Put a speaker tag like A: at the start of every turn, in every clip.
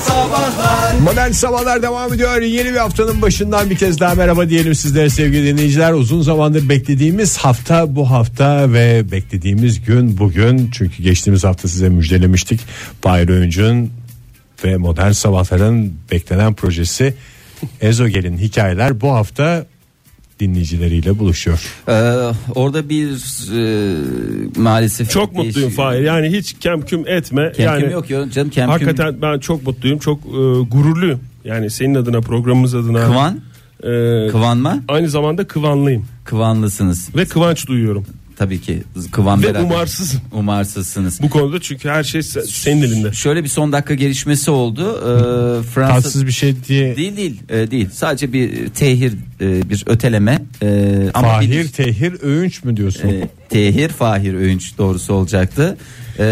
A: Sabahlar
B: Modern Sabahlar devam ediyor. Yeni bir haftanın başından bir kez daha merhaba diyelim sizlere sevgili dinleyiciler. Uzun zamandır beklediğimiz hafta bu hafta ve beklediğimiz gün bugün. Çünkü geçtiğimiz hafta size müjdelemiştik. Fahir Öğüncü'nün ve Modern Sabahlar'ın beklenen projesi Ezogel'in hikayeler bu hafta dinleyicileriyle buluşuyor.
C: Ee, orada bir e, maalesef
D: Çok mutluyum
C: değiş-
D: Fahir. Yani hiç kemküm etme.
C: Kemküm
D: yani
C: yok ya canım kemküm.
D: hakikaten ben çok mutluyum. Çok e, gururluyum. Yani senin adına programımız adına.
C: Kıvan,
D: E,
C: kıvanma,
D: Aynı zamanda kıvanlıyım
C: kıvanlısınız
D: ve kıvanç duyuyorum
C: tabii ki. Kıvan
D: ve
C: beraber.
D: umarsızım
C: Umarsızsınız.
D: bu konuda çünkü her şey se- senin elinde.
C: Şöyle bir son dakika gelişmesi oldu. Ee, Fransa
B: Tatsız bir şey diye
C: değil değil e, değil. Sadece bir tehir e, bir öteleme. E, ama
B: Fahir
C: bilir-
B: Tehir Öğünç mü diyorsun?
C: E, tehir Fahir Öğünç doğrusu olacaktı. E,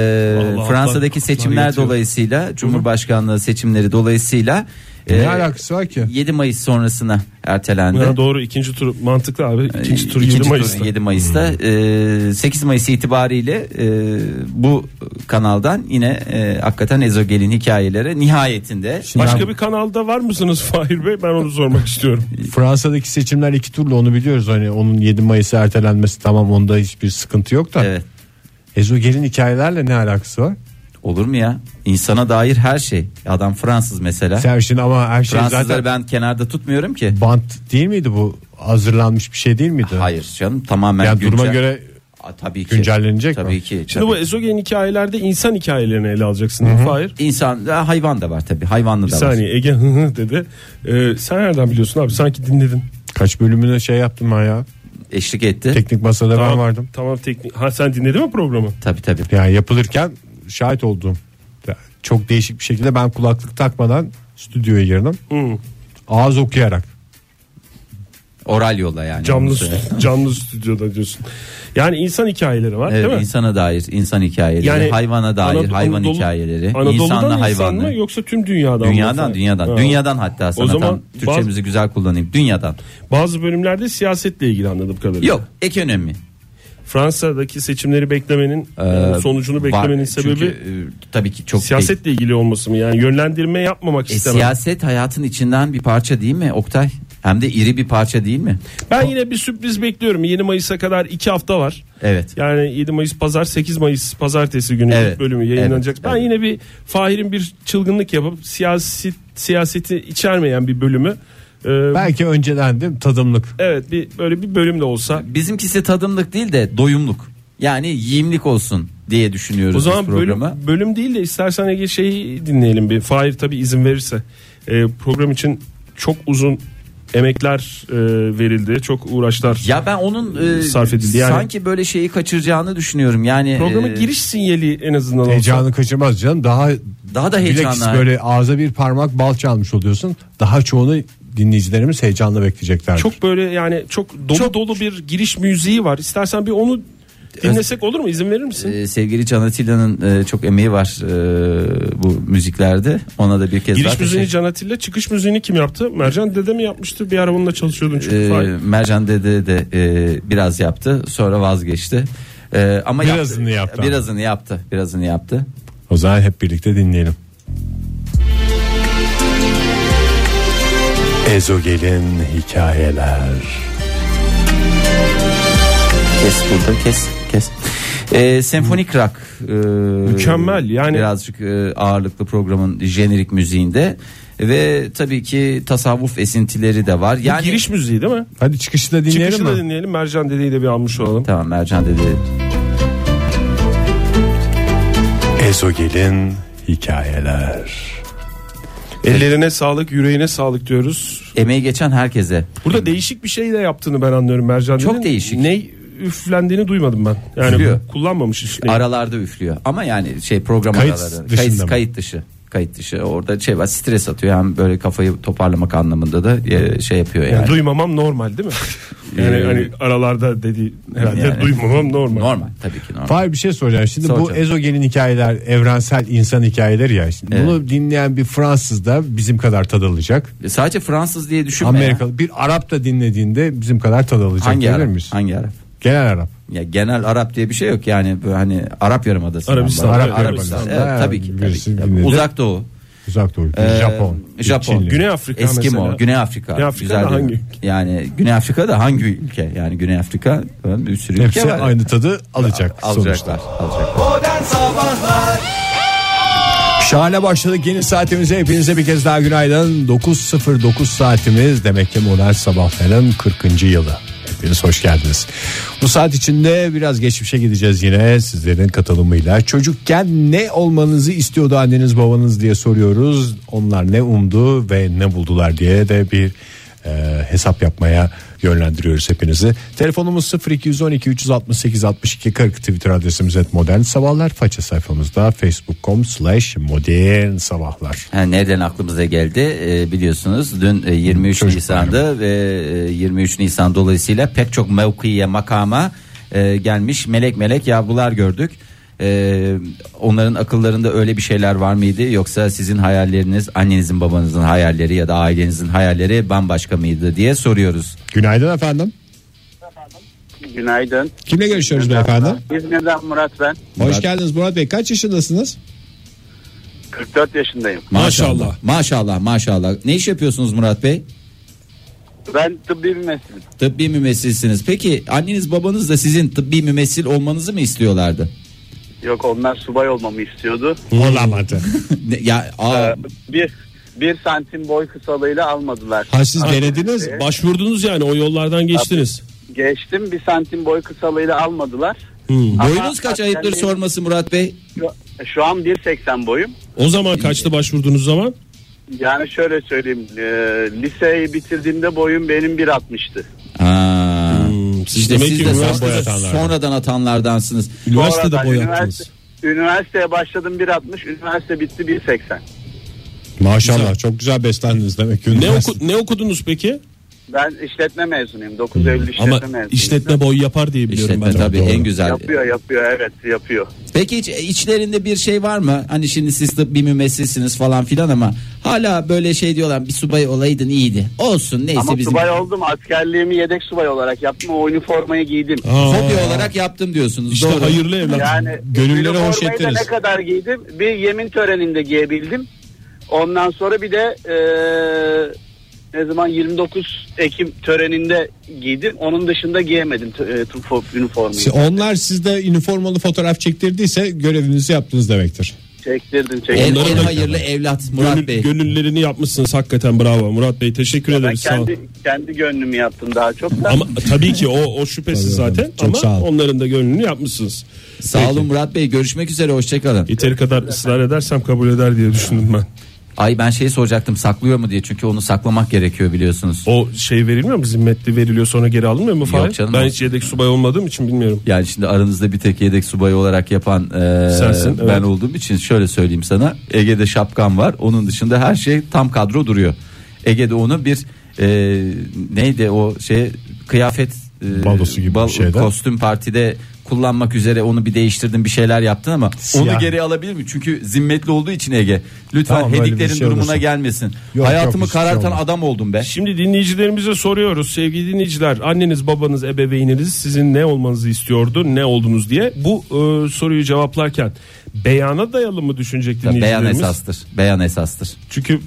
D: Allah,
C: Fransa'daki
D: Allah
C: seçimler
D: yetiyor.
C: dolayısıyla Cumhurbaşkanlığı seçimleri dolayısıyla
B: ne
C: e,
B: alakası var ki?
C: 7 Mayıs sonrasına ertelendi.
D: Ya doğru ikinci tur mantıklı abi. İkinci tur 7
C: İkinci
D: Mayıs'ta.
C: 7 Mayıs'ta.
B: Hmm.
C: Ee, 8 Mayıs itibariyle e, bu kanaldan yine e, hakikaten Ezogel'in hikayeleri nihayetinde
B: Şimdi ben-
D: Başka bir kanalda var mısınız Fahir Bey? Ben onu sormak istiyorum.
B: Fransa'daki seçimler iki turlu onu biliyoruz hani onun 7 Mayıs'a ertelenmesi tamam onda hiçbir sıkıntı yok da
C: evet
B: Ezogel'in hikayelerle ne alakası var?
C: olur mu ya? İnsana dair her şey. Adam Fransız mesela.
B: Sen şimdi ama her şey
C: Fransızları
B: zaten
C: ben kenarda tutmuyorum ki.
B: bant değil miydi bu hazırlanmış bir şey değil miydi?
C: Hayır canım tamamen
B: Yani duruma
C: güncel-
B: göre
C: Aa, tabii ki.
B: güncellenecek
C: tabii
B: mi?
C: ki.
D: Şimdi
C: tabii.
D: bu ezogen hikayelerde insan hikayelerini ele alacaksın değil mi Fahir?
C: İnsan da hayvan da var tabii. Hayvanlı
D: Bir
C: da var.
D: saniye Ege hı hı dedi. Ee, sen nereden biliyorsun abi? Sanki dinledin.
B: Kaç bölümüne şey yaptım ben ya
C: Eşlik etti.
B: teknik masada ben vardım.
D: Tamam teknik. Ha sen dinledin mi programı?
C: Tabii tabii.
B: Yani yapılırken şahit olduğum Ya çok değişik bir şekilde ben kulaklık takmadan stüdyoya girdim.
D: Hı.
B: Ağız okuyarak.
C: Oral yolla yani.
D: Canlı
C: Onu söyle.
D: canlı stüdyoda diyorsun. Yani insan hikayeleri var değil
C: Evet,
D: mi?
C: insana dair insan hikayeleri, hayvana dair
D: Anadolu-
C: hayvan
D: Anadolu-
C: hikayeleri,
D: Anadolu'dan
C: insanla
D: insan
C: hayvanlı.
D: mı yoksa tüm dünyadan mı?
C: Dünyadan, dünyadan.
D: Ha.
C: Dünyadan hatta sana
D: zaman
C: tam Türkçemizi güzel kullanayım. Dünyadan.
D: Bazı bölümlerde siyasetle ilgili anladığım kadarıyla.
C: Yok, ekonomi.
D: Fransa'daki seçimleri beklemenin e,
C: Ee,
D: sonucunu
C: var.
D: beklemenin
C: Çünkü,
D: sebebi
C: e, tabii ki çok
D: siyasetle ilgili olması mı? Yani yönlendirme yapmamak
C: E,
D: istemem.
C: siyaset hayatın içinden bir parça değil mi Oktay? Hem de iri bir parça değil mi?
D: ben yine bir sürpriz bekliyorum. 7 Mayıs'a kadar 2 hafta var.
C: Evet.
D: Yani 7 Mayıs pazar 8 Mayıs pazartesi günü
C: Evet.
D: ilk bölümü yayınlanacak.
C: Evet,
D: Ben
C: evet.
D: yine bir Fahir'in bir çılgınlık yapıp siyaset siyaseti içermeyen bir bölümü e,
B: Belki önceden değil mi? tadımlık.
D: evet bir böyle bir bölüm de olsa
C: Bizimkisi tadımlık değil de doyumluk. Yani yiyimlik olsun diye düşünüyoruz
D: O zaman
C: biz
D: bölüm,
C: programı.
D: bölüm değil de istersen Ege şeyi dinleyelim bir. Fahir tabi izin verirse. Ee, program için çok uzun emekler e, verildi. Çok uğraşlar.
C: Ya ben onun e,
D: Sarf edildi yani.
C: sanki böyle şeyi kaçıracağını düşünüyorum. Yani
D: Programa
C: e,
D: giriş sinyali en azından olsa.
B: Heyecanı kaçırmaz canım. Daha
C: Daha da
B: bilakis
C: heyecanlı.
B: böyle ağza bir parmak bal çalmış oluyorsun. Daha çoğunu dinleyicilerimiz heyecanla bekleyecekler.
D: Çok böyle yani çok dolu dolu bir giriş müziği var. İstersen bir onu dinlesek olur mu? İzin verir misin?
C: Ee, sevgili Can Atilla'nın e, çok emeği var e, bu müziklerde. Ona da bir kez daha
D: giriş müziğini
C: teşekkür-
D: Can Atilla, çıkış müziğini kim yaptı? Mercan dede mi yapmıştı? Bir ara onunla çalışıyordun çünkü.
C: Ee,
D: Fahir.
C: Mercan Dede de e, biraz yaptı. Sonra vazgeçti. Ee, ama
B: Birazını yaptı.
C: Birazını yaptı. Birazını yaptı.
B: O zaman hep birlikte dinleyelim. Ezogel'in hikayeler.
C: Kes burada kes kes. Ee, senfonik rock e,
D: Mükemmel, yani-
C: birazcık e, ağırlıklı programın jenerik müziğinde ve tabii ki tasavvuf esintileri de var. Yani
D: Giriş müziği değil mi?
B: Hadi çıkışı da dinleyelim
D: Çıkışı da
B: mi?
D: dinleyelim. Mercan dedeyi de bir almış olalım.
C: tamam Mercan Dede
B: Ezogel'in hikayeler.
D: Ellerine sağlık, yüreğine sağlık diyoruz.
C: emeği geçen herkese
D: Burada değişik bir şey de yaptığını ben anlıyorum Mercan.
C: Çok
D: Dede'nin.
C: değişik.
D: Ne üflendiğini duymadım ben. Yani
C: Üflüyor.
D: kullanmamış hiç. neyi.
C: aralarda üflüyor. Ama yani şey program
B: Kayıt
C: araları.
B: dışında
C: kayıt,
B: mı?
C: kayıt dışı. Kayıt dışı. Orada şey var stres atıyor. Hem böyle kafayı toparlamak anlamında da e, şey yapıyor yani.
D: Yani duymamam normal değil mi? yani
C: Ee,
D: hani aralarda dedi herhalde
C: yani-
D: duymamam normal.
C: normal tabii ki normal.
B: Fahir bir şey soracağım. Şimdi
C: Sor
B: bu
C: canım.
B: ezogelin hikayeler evrensel insan hikayeleri ya. Şimdi
C: Evet.
B: Bunu dinleyen bir Fransız da bizim kadar tad alacak.
C: E, Sadece Fransız diye düşünme. ya.
B: Amerikalı bir Arap da dinlediğinde bizim kadar tad alacak.
C: Hangi
B: Bilir
C: Arap?
B: miyiz?
C: Hangi Arap?
B: Genel Arap.
C: Ya genel Arap diye bir şey yok yani böyle hani Arap Yarımadası.
D: Arabistan,
C: Arap,
D: evet,
C: Arabistan.
B: Arabistan.
C: Evet, tabii ki. Tabii
B: Birisi
C: ki.
B: dinledi.
C: Uzak Doğu.
B: Uzak Doğu,
C: Ee,
B: Japon,
C: Japon.
B: Çinli.
D: Güney Afrika
C: Eskimo,
D: mesela.
C: Güney Afrika.
D: Güney Afrika'da
C: Güzel
D: hangi
C: bir- Yani Güney Afrika'da hangi ülke? Yani Güney Afrika e, bir sürü
B: Hepsi
C: ülke var.
B: aynı tadı alacak sonuçta.
C: Alacaklar, alacaklar.
B: Şahane başladık yeni saatimize hepinize bir kez daha günaydın 9.09 saatimiz demek ki modern sabahların 40. yılı Hepiniz hoş geldiniz Bu saat içinde biraz geçmişe gideceğiz yine sizlerin katılımıyla Çocukken ne olmanızı istiyordu anneniz babanız diye soruyoruz Onlar ne umdu ve ne buldular diye de bir e, hesap yapmaya yönlendiriyoruz hepinizi. Telefonumuz 0212 368 62 40 Twitter adresimiz et modern sabahlar. Faça sayfamızda facebook.com slash modern sabahlar.
C: Ha, nereden aklımıza geldi Ee, biliyorsunuz dün e, 23
B: Çocuk
C: Nisan'da ve e, 23 Nisan dolayısıyla pek çok mevkiye makama e, gelmiş melek melek yavrular gördük. Ee, onların akıllarında öyle bir şeyler var mıydı yoksa sizin hayalleriniz annenizin babanızın hayalleri ya da ailenizin hayalleri bambaşka mıydı diye soruyoruz.
B: Günaydın efendim.
E: Günaydın.
B: Kimle görüşüyoruz beyefendi?
E: İzmir'den Murat ben.
B: Hoş geldiniz Murat Bey. Kaç yaşındasınız?
E: 44 yaşındayım.
C: Maşallah. Maşallah maşallah. Ne iş yapıyorsunuz Murat Bey?
E: Ben tıbbi bir mesliyim.
C: Tıbbi mümessilsiniz. Peki anneniz babanız da sizin tıbbi mümessil olmanızı mı istiyorlardı?
E: Yok onlar subay olmamı istiyordu.
B: Olamadı.
C: Ne- ya aa,
E: Ee, bir bir santim boy kısalığıyla almadılar.
B: Ha siz denediniz.
E: Ee,
D: Başvurdunuz yani o yollardan geçtiniz.
E: Geçtim bir santim boy kısalığıyla almadılar. Ama
C: boyunuz kaç ayıptır
E: hakikaten
C: sorması Murat Bey?
E: Şu, şu an 1.80 boyum.
D: O zaman kaçtı başvurduğunuz zaman?
E: Yani şöyle söyleyeyim. e, liseyi bitirdiğimde boyum benim 1.60'tı.
C: Ha.
D: Hmm, siz
C: İşte
D: demek
C: siz
D: ki
C: de
D: üniversitede
C: sonradan,
D: atanlar.
C: sonradan atanlardansınız.
D: Üniversitede
E: Sonradan
D: boy
E: üniversite-
D: attınız.
E: Üniversiteye başladım 1.60, üniversite bitti 1.80.
B: Maşallah
D: Güzel.
B: çok güzel beslendiniz demek ki.
D: Ne,
B: Üniversite-
D: oku- ne okudunuz peki?
E: Ben işletme mezunuyum. 9 Eylül işletme
D: Ama
E: mezunuyum.
D: işletme boy yapar diye biliyorum
C: İşletme
D: ben.
C: tabii
B: Doğru.
C: en güzel.
E: Yapıyor yapıyor evet yapıyor.
C: Peki hiç e, içlerinde bir şey var mı? Hani şimdi siz tıbbi mümessilsiniz falan filan ama hala böyle şey diyorlar bir subay olaydın iyiydi. Olsun neyse
E: Ama
C: bizim.
E: subay oldum askerliğimi yedek subay olarak yaptım o üniformayı giydim.
C: Hobi
D: Aa,
C: olarak yaptım diyorsunuz.
D: İşte
C: Doğru.
D: hayırlı evlat.
E: Yani
B: gönüllere hoş
E: üniformayı da
B: ettiniz.
E: ne kadar giydim bir yemin töreninde giyebildim. Ondan sonra bir de eee, ne zaman 29 Ekim töreninde giydim. Onun dışında giyemedim t- e, tufo- üniformayı.
B: Si- Onlar sizde üniformalı fotoğraf çektirdiyse görevinizi yaptınız demektir.
E: Çektirdim
C: En,
E: çektirdim.
D: Onların
C: en
D: da-
C: hayırlı evlat Murat
D: Gönül,
C: Bey.
D: gönüllerini yapmışsınız hakikaten bravo Murat Bey teşekkür
E: Ben
D: ederiz sağ olun.
E: kendi, kendi gönlümü yaptım daha çok da.
D: Ama tabii ki o, o şüphesiz
B: Tabii efendim,
D: zaten
B: çok sağ
D: ama
B: olun.
D: onların da gönlünü yapmışsınız.
C: Sağ olun Murat Bey görüşmek üzere hoşçakalın.
D: Yeteri kadar ısrar edersem kabul eder diye düşündüm ben.
C: Ay ben şeyi soracaktım saklıyor mu diye çünkü onu saklamak gerekiyor biliyorsunuz.
D: O şey verilmiyor mu zimmetli veriliyor sonra geri alınmıyor mu falan?
C: canım.
D: ben hiç yedek subay olmadığım için bilmiyorum.
C: Yani şimdi aranızda bir tek yedek subayı olarak yapan e,
D: Sensin, evet.
C: ben olduğum için şöyle söyleyeyim sana. Ege'de şapkan var. Onun dışında her şey tam kadro duruyor. Ege'de onu bir e, neydi o şey kıyafet e,
B: Balosu gibi bir şeyden.
C: kostüm partide kullanmak üzere onu bir değiştirdin bir şeyler yaptın ama
B: Siyah.
C: onu geri alabilir mi? Çünkü zimmetli olduğu için Ege. Lütfen
B: Tamam, öyle bir
C: hediklerin
B: şey
C: durumuna
B: olursa.
C: gelmesin.
B: yok,
C: Hayatımı
B: hiçbir şey
C: karartan
B: olmaz.
C: adam oldum be.
D: Şimdi dinleyicilerimize soruyoruz sevgili dinleyiciler anneniz babanız ebeveyniniz sizin ne olmanızı istiyordu ne oldunuz diye bu e, soruyu cevaplarken beyana dayalı mı düşünecek
C: Beyan
D: dinleyicilerimiz?
C: esastır. Beyan esastır.
D: Çünkü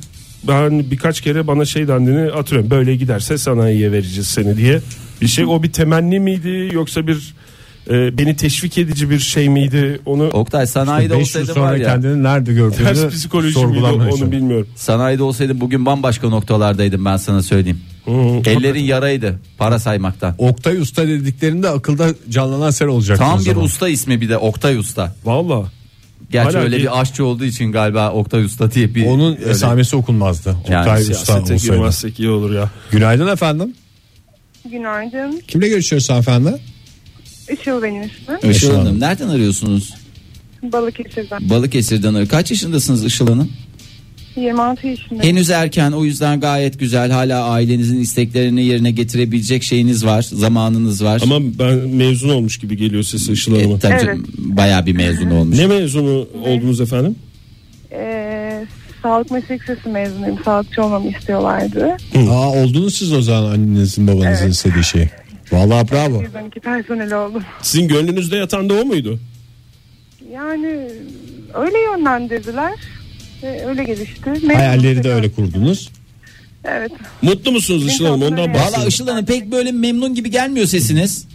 D: ben birkaç kere bana şey dendiğini atıyorum böyle giderse sanayiye vereceğiz seni diye bir şey o bir temenni miydi yoksa bir e, beni teşvik edici bir şey miydi onu
C: Oktay sanayide
B: Beş yıl
C: olsaydım var
B: sonra
C: ya.
B: kendini nerede gördüğünü
D: ters psikoloji miydi
B: sorgulamaya
D: onu
B: çalışıyorum.
D: bilmiyorum.
C: Sanayide olsaydım bugün bambaşka noktalardaydım ben sana söyleyeyim. Ellerin yaraydı para saymaktan.
B: Oktay Usta dediklerinde akılda canlanan sen olacak.
C: Tam
B: o
C: bir
B: zaman.
C: usta ismi bir de Oktay Usta.
D: Valla
C: Gerçi
D: Hala
C: öyle
D: değil.
C: bir aşçı olduğu için galiba Oktay Usta diye bir
B: Onun
C: öyle-
B: esamesi okunmazdı.
C: Yani
B: Oktay Usta
D: siyasete
B: olsaydı.
D: girmezsek iyi olur ya.
B: Günaydın efendim.
F: Günaydın.
B: Kimle görüşüyoruz hanımefendi?
F: Işıl benim ismim.
C: Işıl
B: Işıl
C: Hanım
B: Hanım.
C: nereden arıyorsunuz?
F: Balıkesir'den.
C: Balıkesir'den arıyor. Kaç yaşındasınız Işıl Hanım?
F: 26 yaşındayım.
C: Henüz erken o yüzden gayet güzel. Hala ailenizin isteklerini yerine getirebilecek şeyiniz var. Zamanınız var.
D: Ama ben mezun olmuş gibi geliyor sesi Işıl Hanım'a.
C: E, tabii
F: Evet.
C: canım, bayağı bir mezun olmuş.
D: Ne mezunu oldunuz efendim?
F: Ee, sağlık meslek lisesi mezunuyum. Sağlıkçı olmamı istiyorlardı.
B: Aa oldunuz siz o zaman annenizin babanızın istediği şeyi. Vallahi bravo.
F: 112 personel oldum.
D: Sizin gönlünüzde yatan da o muydu?
F: Yani öyle yönlendirdiler. Ee, öyle gelişti.
B: Hayalleri
F: Memnunum
B: de
F: tekrar.
B: öyle kurdunuz.
F: Evet.
G: Mutlu musunuz Işıl Hanım? Ondan
F: İnşallah öyle.
C: Valla
G: bahsedin.
C: Işıl Hanım pek böyle memnun gibi gelmiyor sesiniz.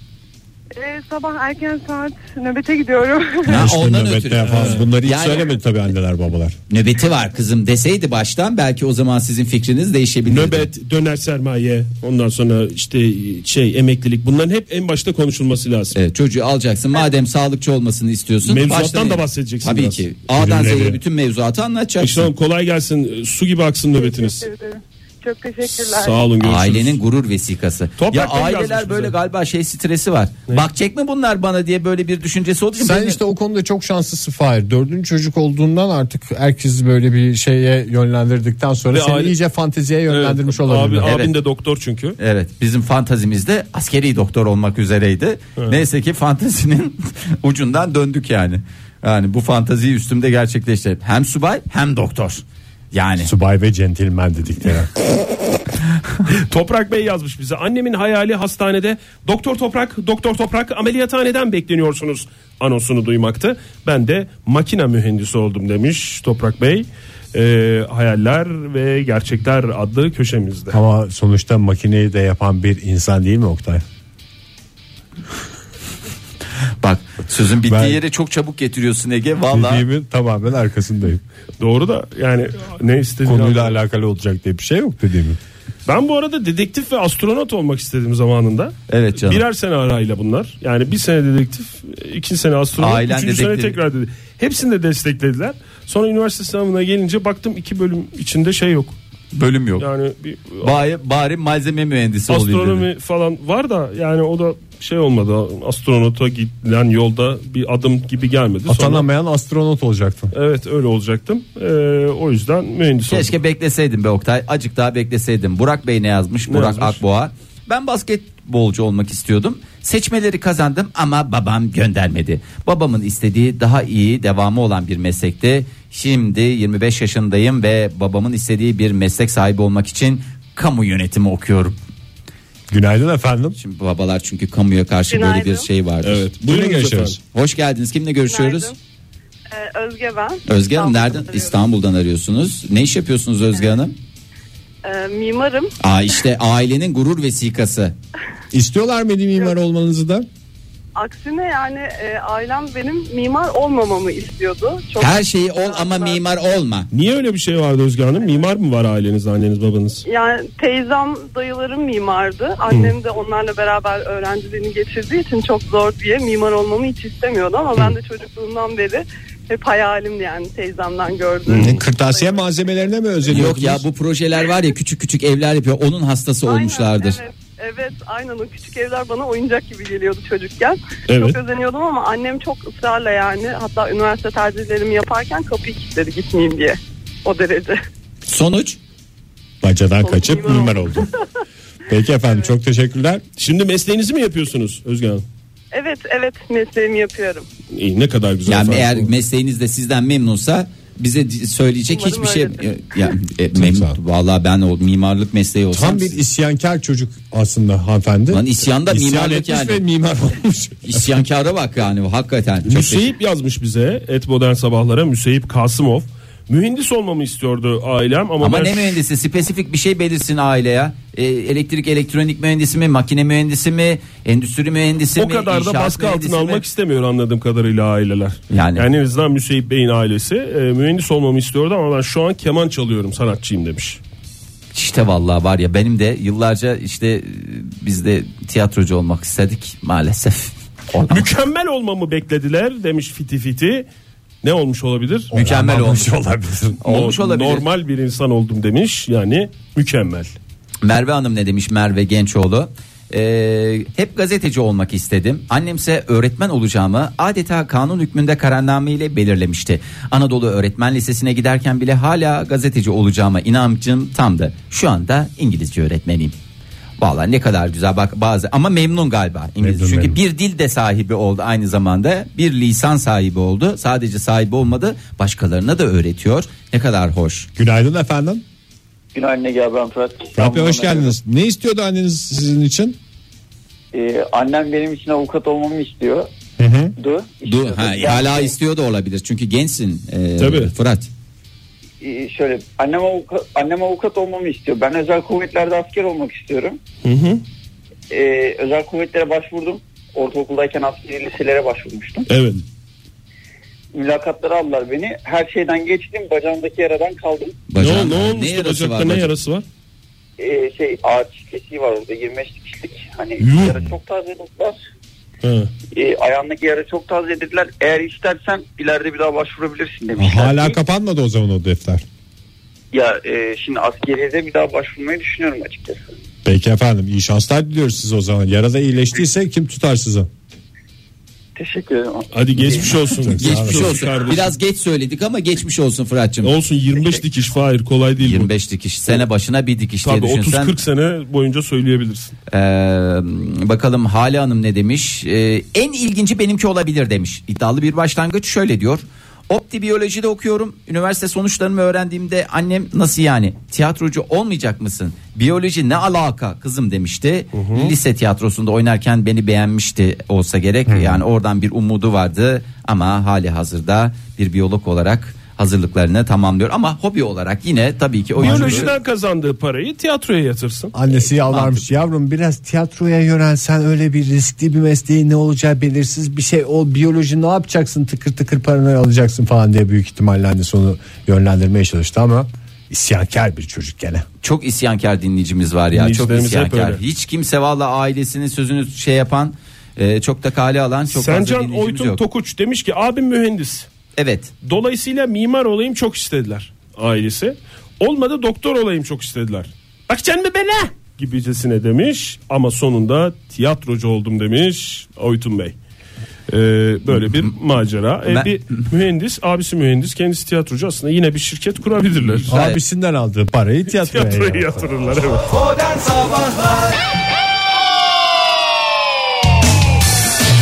F: Ee, sabah erken saat nöbete gidiyorum.
C: Ha,
B: Aşkın
C: ondan
B: nöbette
C: ötürü.
B: yapamaz. Bunları hiç
C: Yani-
B: söylemedi tabii anneler babalar.
C: Nöbeti var kızım deseydi baştan belki o zaman sizin fikriniz değişebilirdi.
G: Nöbet, döner sermaye, ondan sonra işte şey emeklilik bunların hep en başta konuşulması lazım.
C: Evet, çocuğu alacaksın madem sağlıkçı olmasını istiyorsun.
G: Mevzuattan
C: baştan-
G: da bahsedeceksin
C: Tabii
G: biraz.
C: ki. A'dan Z'ye
G: Ürünleri.
C: bütün mevzuatı
G: Işıl Hanım
C: anlatacaksın.
G: kolay gelsin. Su gibi aksın nöbetiniz.
F: Teşekkür ederim. Çok teşekkürler.
G: Sağ olun görüşürüz.
C: Ailenin gurur vesikası.
G: Toprak
C: ya
G: Bey yazmış
C: aileler
G: bize.
C: böyle galiba şey stresi var. Bakacak mı bunlar bana diye böyle bir düşüncesi olduğu için.
H: Sen
C: benim-
H: işte o konuda çok şanslısın Fahir. Dördüncü çocuk olduğundan artık herkesi böyle bir şeye yönlendirdikten sonra
G: Ve
H: seni
G: aile-
H: iyice fanteziye yönlendirmiş
G: Evet,
H: olabilir.
G: Abi,
C: Evet.
G: Abin de doktor çünkü.
C: Evet bizim fantazimizde askeri doktor olmak üzereydi. Neyse ki fantazinin ucundan döndük yani. Yani bu fantaziyi üstümde gerçekleştirip hem subay hem doktor. Yani
B: Subay ve centilmen dedikleri.
D: Toprak Bey yazmış bize. Annemin hayali hastanede Doktor Toprak, Doktor Toprak ameliyathaneden bekleniyorsunuz anonsunu duymaktı. Ben de makina mühendisi oldum demiş Toprak Bey. Ee, hayaller ve gerçekler adlı köşemizde.
B: Ama sonuçta makineyi de yapan bir insan değil mi Oktay?
C: bak sözün bittiği
B: Ben-
C: yere çok çabuk getiriyorsun Ege. Vallahi
B: Dediğimin tamamen arkasındayım.
D: Doğru da yani ne istediğini
B: Konuyla alakalı olacak diye bir şey yok dediğimin.
D: Ben bu arada dedektif ve astronot olmak istediğim zamanında.
C: Evet E canım.
D: Birer sene arayla bunlar. Yani bir sene dedektif, iki sene astronot,
C: Ailen
D: üçüncü sene
C: dedektif.
D: tekrar dedi. Hepsini de desteklediler. Sonra üniversite sınavına gelince baktım iki bölüm içinde şey yok.
C: bölüm yok.
D: Yani bir
C: Bari, bari malzeme mühendisi olayım dedi.
D: astronomi falan var da yani o da şey olmadı. Astronota gidilen yolda bir adım gibi gelmedi. Sonra-
B: Atanamayan astronot olacaktın.
D: evet öyle olacaktım. Ee, o yüzden mühendis oldum.
C: Keşke bekleseydim be Oktay. Acık daha bekleseydim. Burak Bey ne yazmış? Burak
D: yazmış?
C: Akboğa. Ben basketbolcu olmak istiyordum. Seçmeleri kazandım ama babam göndermedi. Babamın istediği daha iyi devamı olan bir meslekti. Şimdi 25 yaşındayım ve babamın istediği bir meslek sahibi olmak için kamu yönetimi okuyorum.
B: Günaydın efendim.
C: Şimdi babalar çünkü kamuya karşı böyle bir
I: Günaydın.
C: şey vardır.
G: Evet.
B: Buyurun
G: Buyurun
B: görüşürüz.
C: Hoş geldiniz. Kimle görüşüyoruz?
I: Günaydın. Ee, Özge ben.
C: Özge Hanım
I: İstanbul'dan
C: nereden?
I: arıyorum.
C: İstanbul'dan arıyorsunuz. Ne iş yapıyorsunuz Özge Hanım?
I: Ee, mimarım.
C: Aa işte ailenin gurur vesikası.
B: İstiyorlar mıydı mimar olmanızı da?
I: Aksine yani e, ailem benim mimar olmamamı istiyordu. Çok
C: Her şeyi ol ama mimar olma.
D: Niye öyle bir şey vardı Özge Hanım? Mimar mı var aileniz, anneniz, babanız?
I: Yani teyzem dayılarım mimardı. Annem de onlarla beraber öğrenciliğini geçirdiği için çok zor diye mimar olmamı hiç istemiyordu. Ama ben de çocukluğumdan beri hep hayalimdi yani teyzemden gördüğüm.
B: E, Kırtasiye malzemelerine mi
C: Yok
B: özeniyordunuz?
C: ya bu projeler var ya küçük küçük evler yapıyor. Onun hastası
I: Aynen,
C: olmuşlardır.
I: Evet, evet aynen o küçük evler bana oyuncak gibi geliyordu çocukken.
D: Evet.
I: Çok özeniyordum ama annem çok ısrarla yani hatta üniversite tercihlerimi yaparken kapıyı kilitledi gitmeyeyim diye. O derece.
C: Sonuç
B: Bacadan
I: Çok
B: kaçıp
I: mimar
B: mimar oldum. Peki efendim çok teşekkürler.
G: Şimdi mesleğinizi mi yapıyorsunuz Özge Hanım?
I: Evet evet mesleğimi yapıyorum.
G: İyi, ne kadar güzel.
C: yani
G: efendim.
C: eğer mesleğiniz de sizden memnunsa bize di- söyleyecek
I: Umarım
C: hiçbir şey
I: öyledir.
C: ya, e, memnun.
B: sağ ol.
C: Vallahi ben o mimarlık mesleği olsam
B: Tam bir isyankar çocuk aslında hanımefendi.
C: Lan isyanda
B: İsyan
C: mimarlık
B: etmiş
C: yani.
B: ve mimar olmuş.
C: isyankara bak yani hakikaten. Çok teşekkür-
D: Müseyip yazmış bize et modern sabahlara Müseyip Kasımov. Mühendis olmamı istiyordu ailem ama,
C: Ama
D: ben
C: ne mühendisi spesifik bir şey belirsin aileye. E, elektrik elektronik mühendisi mi, makine mühendisi mi, endüstri mühendisi
D: o
C: mi,
D: kadar da
C: inşaat
D: baskı
C: mühendisi
D: altına
C: mi?
D: almak istemiyor anladığım kadarıyla aileler.
C: Yani.
D: Yani, en azından Müseyip Bey'in ailesi e, mühendis olmamı istiyordu ama ben şu an keman çalıyorum sanatçıyım demiş.
C: İşte vallahi var ya benim de yıllarca işte e, biz de tiyatrocu olmak istedik maalesef. Olamadık.
D: Mükemmel olmamı beklediler demiş Fiti Fiti. Ne olmuş olabilir?
C: Mükemmel olmuş.
B: olabilir.
C: Olmuş
D: No-
C: olabilir.
D: Normal bir insan oldum demiş yani mükemmel.
C: Merve Hanım ne demiş Merve Gençoğlu? Ee, hep gazeteci olmak istedim. Annemse öğretmen olacağımı adeta kanun hükmünde kararname ile belirlemişti. Anadolu Öğretmen Lisesi'ne giderken bile hala gazeteci olacağıma inancım tamdı. Şu anda İngilizce öğretmeniyim. Valla ne kadar güzel bak bazı ama memnun galiba İngilizce.
B: Memnun,
C: Çünkü
B: memnun.
C: bir dil de sahibi oldu aynı zamanda. Bir lisan sahibi oldu. Sadece sahibi olmadı, başkalarına da öğretiyor. Ne kadar hoş.
B: Günaydın efendim.
J: Günaydın Ege abi ben Fırat.
B: Rabbi hoş
J: İstanbul'dan
B: geldiniz. Ne istiyordu anneniz sizin için?
J: arıyorum. Ee, annem benim için avukat olmamı istiyor. Du.
C: Du, ha,
J: Yani
C: hala istiyor da olabilir çünkü gençsin e,
D: Tabii.
C: Fırat.
J: e, şöyle annem avukat, annem avukat olmamı istiyor. Ben özel kuvvetlerde asker olmak istiyorum. E, özel kuvvetlere başvurdum. Ortaokuldayken askeri liselere başvurmuştum.
G: Evet.
J: Mülakatlara aldılar beni. Her şeyden geçtim. Bacağımdaki yaradan kaldım.
G: Ne,
C: Bacağın-
G: ol- ne olmuş
C: yarası
G: bacakta
C: var
G: ne
C: bacak-
G: yarası var?
J: E, şey ağaç kesiği var orada 25 dikişlik. Hani
G: Yuh.
J: yara çok taze dediler.
G: Ha.
J: E, ayağındaki yara çok taze dediler. Eğer istersen ileride bir daha başvurabilirsin demişler.
K: Hala
J: Ki-
K: kapanmadı o zaman o defter.
J: Ya e, şimdi askeriyede bir daha başvurmayı düşünüyorum açıkçası.
K: Peki efendim iyi şanslar diliyoruz size o zaman. Yarada iyileştiyse kim tutar sizi?
J: Teşekkür ederim.
G: Hadi geçmiş olsun.
C: Geçmiş olsun.
G: Kardeşim.
C: Biraz geç söyledik ama geçmiş olsun Fırat'cığım.
G: Olsun 25 dikiş Fahir kolay değil
C: 25 dikiş sene başına bir dikiş
G: bu. Tabii
C: diye düşünsen
G: 30-40 sene boyunca söyleyebilirsin.
C: Ee, bakalım Hale Hanım ne demiş? Ee, en ilginci benimki olabilir demiş. İddialı bir başlangıç şöyle diyor. Opti biyolojide okuyorum. Üniversite sonuçlarımı öğrendiğimde annem nasıl yani? Tiyatrocu olmayacak mısın? Biyoloji ne alaka kızım demişti. Lise tiyatrosunda oynarken beni beğenmişti olsa gerek. Yani oradan bir umudu vardı ama hali hazırda bir biyolog olarak hazırlıklarını tamamlıyor. Ama hobi olarak yine tabii ki oyuncu.
D: Biyolojiden kazandığı parayı tiyatroya yatırsın.
B: Annesi yalvarmış yavrum biraz tiyatroya yönelsen öyle bir riskli bir mesleğin ne olacağı belirsiz bir şey ol biyoloji ne yapacaksın tıkır tıkır paranı alacaksın falan diye büyük ihtimalle annesi onu yönlendirmeye çalıştı ama isyankar bir çocuk gene.
C: Çok isyankar dinleyicimiz var ya. Çok
G: Dinleyicilerimiz hep
C: isyankar.
G: öyle.
C: Hiç kimse valla ailesinin sözünü şey yapan, e, çok da kale alan çok fazla
D: Sencan
C: dinleyicimiz
D: Oytun
C: yok.
D: Tokuç demiş ki abim mühendis.
C: evet.
D: Dolayısıyla mimar olayım çok istediler ailesi. Olmadı doktor olayım çok istediler. Bakacaksın mı bana? Gibicesine demiş ama sonunda tiyatrocu oldum demiş Oytun Bey. Ee, böyle bir macera. Ee,
C: Ben-
D: bir mühendis, abisi mühendis, kendisi tiyatrocu. Aslında yine bir şirket kurabilirler.
C: Gayet-
B: Abisinden aldığı parayı tiyatroya,
D: Tiyatroya
B: yatırdı.
D: yatırırlar evet.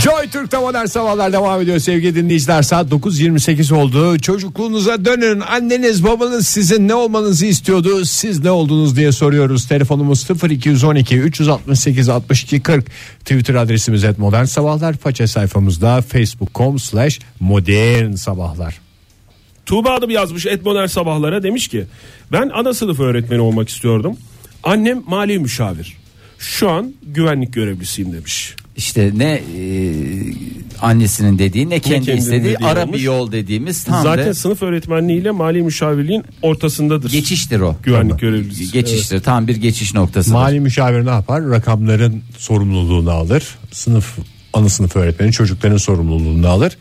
B: Joy Türk'te modern sabahlar devam ediyor sevgili dinleyiciler saat 9.28 oldu çocukluğunuza dönün anneniz babanız sizin ne olmanızı istiyordu siz ne oldunuz diye soruyoruz telefonumuz 0212 368 62 40 twitter adresimiz et modern sabahlar faça sayfamızda facebook.com slash modern sabahlar
D: Tuğba adım yazmış Etmoner Sabahlara demiş ki ben ana sınıf öğretmeni olmak istiyordum. Annem mali müşavir. Şu an güvenlik görevlisiyim demiş.
C: İşte ne e, annesinin dediği ne kendi
D: kendinin
C: istediği
D: dediği
C: ara
D: olmuş.
C: bir yol dediğimiz tam
D: Zaten
C: da
D: sınıf öğretmenliği ile mali müşavirliğin ortasındadır.
C: geçiştir o.
D: Güvenlik görevlisi.
C: Geçiştir. Tam bir geçiş noktası.
B: mali müşavir ne yapar rakamların sorumluluğunu alır sınıf ana sınıf öğretmeni çocukların sorumluluğunu alır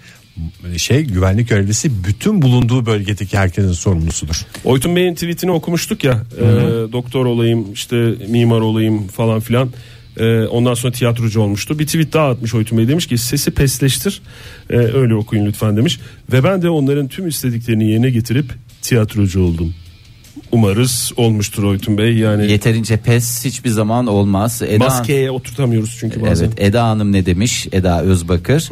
B: şey güvenlik görevlisi bütün bulunduğu bölgedeki herkesin sorumlusudur.
D: Oytun Bey'in tweetini okumuştuk ya. e, doktor olayım, işte mimar olayım falan filan. E, ondan sonra tiyatrocu olmuştu. Bir tweet daha atmış Oytun Bey demiş ki sesi pesleştir. E, öyle okuyun lütfen demiş. Ve ben de onların tüm istediklerini yerine getirip tiyatrocu oldum. Umarız olmuştur Oytun Bey. Yani
C: Yeterince pes hiçbir zaman olmaz. Eda,
D: maskeye oturtamıyoruz çünkü bazen.
C: Evet Eda Hanım ne demiş? Eda Özbakır.